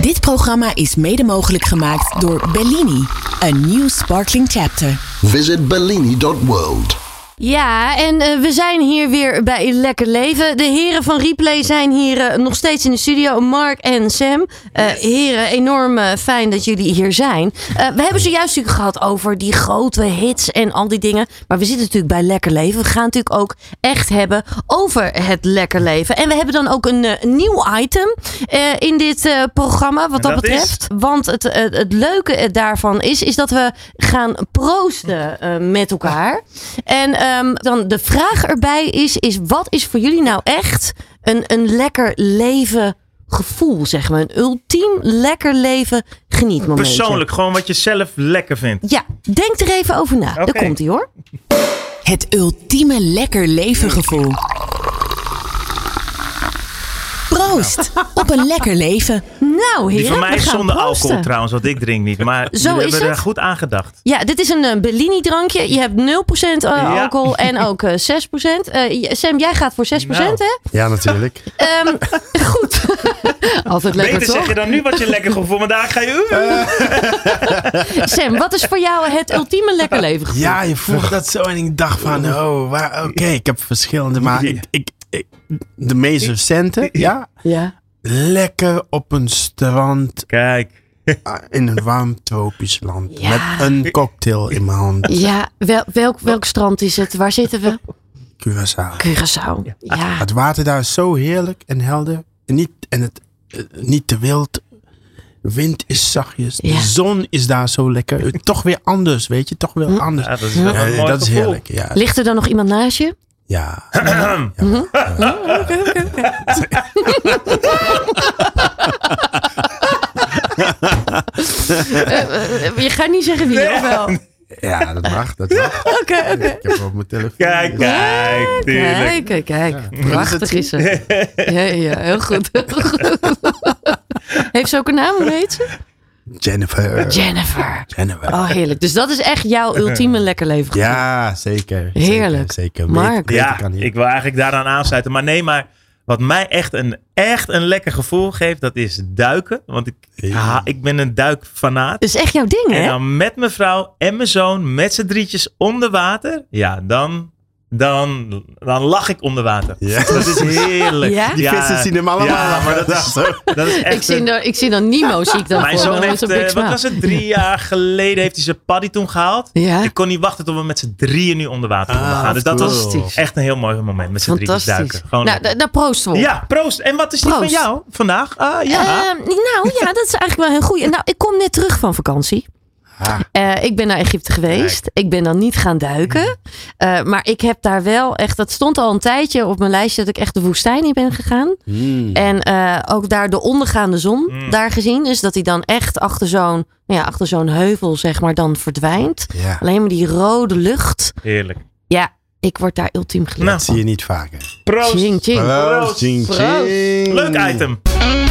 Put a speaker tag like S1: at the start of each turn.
S1: Dit programma is mede mogelijk gemaakt door Bellini, een nieuw sparkling chapter.
S2: Visit Bellini.world.
S3: Ja, en eh, we zijn hier weer bij Lekker Leven. De heren van Replay zijn hier eh, nog steeds in de studio. Mark en Sam. Eh, Heren, enorm eh, fijn dat jullie hier zijn. Eh, we hebben zojuist natuurlijk gehad over die grote hits en al die dingen. Maar we zitten natuurlijk bij Lekker Leven. We gaan natuurlijk ook echt hebben over het lekker leven. En we hebben dan ook een eh, nieuw item eh, in dit eh, programma wat
S4: En
S3: dat,
S4: dat is?
S3: betreft. Want het, het, het leuke eh, daarvan is, is dat we gaan proosten eh, met elkaar. En ehm, dan de vraag erbij is, is wat is voor jullie nou echt een, een lekker leven gevoel, zeg maar. Een ultiem lekker leven genietmoment.
S4: Persoonlijk, gewoon wat je zelf lekker vindt.
S3: Ja, denk er even over na.
S4: Oké.
S3: Daar komt ie hoor.
S1: Het ultieme lekker leven gevoel. Proost op een lekker leven.
S3: Nou, heren,
S4: Die van mij
S3: we
S4: is
S3: gaan
S4: zonder
S3: proosten.
S4: alcohol trouwens, want ik drink niet. Maar
S3: Zo
S4: we
S3: is
S4: hebben er
S3: het.
S4: goed aan gedacht.
S3: Ja, dit is een eh, Bellini drankje. Je hebt 0% eh,
S4: Ja.
S3: alcohol en ook eh, 6%. Eh, j- Sam, jij gaat voor 6%
S4: Nou.
S3: hè?
S5: Ja, natuurlijk.
S3: Ehm, goed. Altijd lekker
S4: Beter
S3: toch?
S4: zeg je dan nu wat je lekker gevoel, maar daar ga je...
S6: Eh.
S3: Sam, wat is voor jou het ultieme lekker leven gevoel?
S6: Ja, je voelt dat zo en ik dacht van, oh, waar- oké, ik heb verschillende, maar ik, ik, ik- de meest recente, ja,
S3: Ja.
S6: lekker op een strand
S4: Kijk,
S6: ah, in een warm tropisch land
S3: Ja.
S6: met een cocktail in mijn hand,
S3: Ja, wel- welk, welk strand is het? Waar zitten we?
S6: Curaçao.
S3: Curaçao. Ja.
S6: Het water daar is zo heerlijk en helder en niet, en het, eh, niet te wild. Wind is zachtjes,
S3: Ja.
S6: de zon is daar zo lekker. Eh, Toch weer anders, weet je, toch weer anders.
S4: ja, dat is wel
S6: Ja,
S4: een mooi
S6: dat is
S4: gevoel.
S6: heerlijk, ja.
S3: Ligt er dan nog iemand naast je?
S6: ja.
S3: Eh, Je gaat niet zeggen wie, of wel? Oké,
S5: Ja, dat mag. Dat mag.
S3: oké.
S5: Ik heb op mijn telefoon.
S4: Kijk, kijk,
S3: Kijk,
S4: tuurlijk.
S3: kijk, kijk. Prachtig is ze. Ja, ja, heel goed. heel goed. Heeft ze ook een naam? Hoe heet ze?
S6: Jennifer.
S3: Jennifer.
S6: Jennifer.
S3: Oh, heerlijk. Dus dat is echt jouw ultieme lekker leven.
S6: Ja, zeker.
S3: Heerlijk.
S6: Zeker. zeker.
S3: Mark.
S6: Beter- beter
S4: Ja,
S6: kan niet.
S4: ik wil eigenlijk daaraan aansluiten. Maar nee, maar wat mij echt een, echt een lekker gevoel geeft, dat is duiken. Want ik, ah, ik ben een duikfanaat.
S3: Dat is Dus echt jouw ding,
S4: En
S3: hè?
S4: dan met mijn vrouw en mijn zoon, met z'n drietjes onder water. Ja, dan, dan, dan lach ik onder water.
S5: Ja.
S4: Dat is heerlijk.
S3: Ja?
S6: Die vissen zien hem allemaal.
S4: Ja, maar dat is, dat is echt
S3: Ik zie,
S4: een-
S3: dan, ik zie dan Nemo, zie ik dan
S4: Mijn
S3: voor me,
S4: zoon
S3: met
S4: heeft,
S3: zo'n
S4: eh,
S3: big
S4: wat
S3: smile.
S4: was het, drie jaar geleden heeft hij zijn paddy toen gehaald.
S3: Ja.
S4: Ik kon niet wachten tot we met z'n drieën nu onder water konden
S6: Ah,
S4: gaan. Dus dat was
S6: fantastisch.
S4: echt een heel mooi moment, met z'n drieën duiken.
S3: Fantastisch.
S4: Gewoon
S3: Nou, da- daar proosten we op.
S4: ja, proost. En wat is die
S3: Proost.
S4: van jou vandaag? Ah, ja.
S3: Ehm, nou ja, dat is eigenlijk wel heel goed. Nou, ik kom net terug van vakantie.
S6: Ah.
S3: Eh, ik ben naar Egypte geweest. Ik ben dan niet gaan
S6: Hmm.
S3: duiken. Eh, maar ik heb daar wel echt, dat stond al een tijdje op mijn lijstje, dat ik echt de woestijn in ben gegaan.
S6: Mm.
S3: En eh, ook daar de ondergaande zon
S4: Mm.
S3: daar gezien. Dus dat hij dan echt achter zo'n nou ja, achter zo'n heuvel, zeg maar, dan verdwijnt.
S6: Ja.
S4: Nou.
S3: Alleen maar die rode lucht.
S4: Heerlijk.
S3: Ja, ik word daar ultiem
S4: Nou,
S3: gelukkig
S6: Dat zie je niet vaker.
S4: Proost.
S3: van. Ching, ching.
S4: Proost.
S5: Ching,
S3: Proost.
S5: ching.
S4: Leuk item.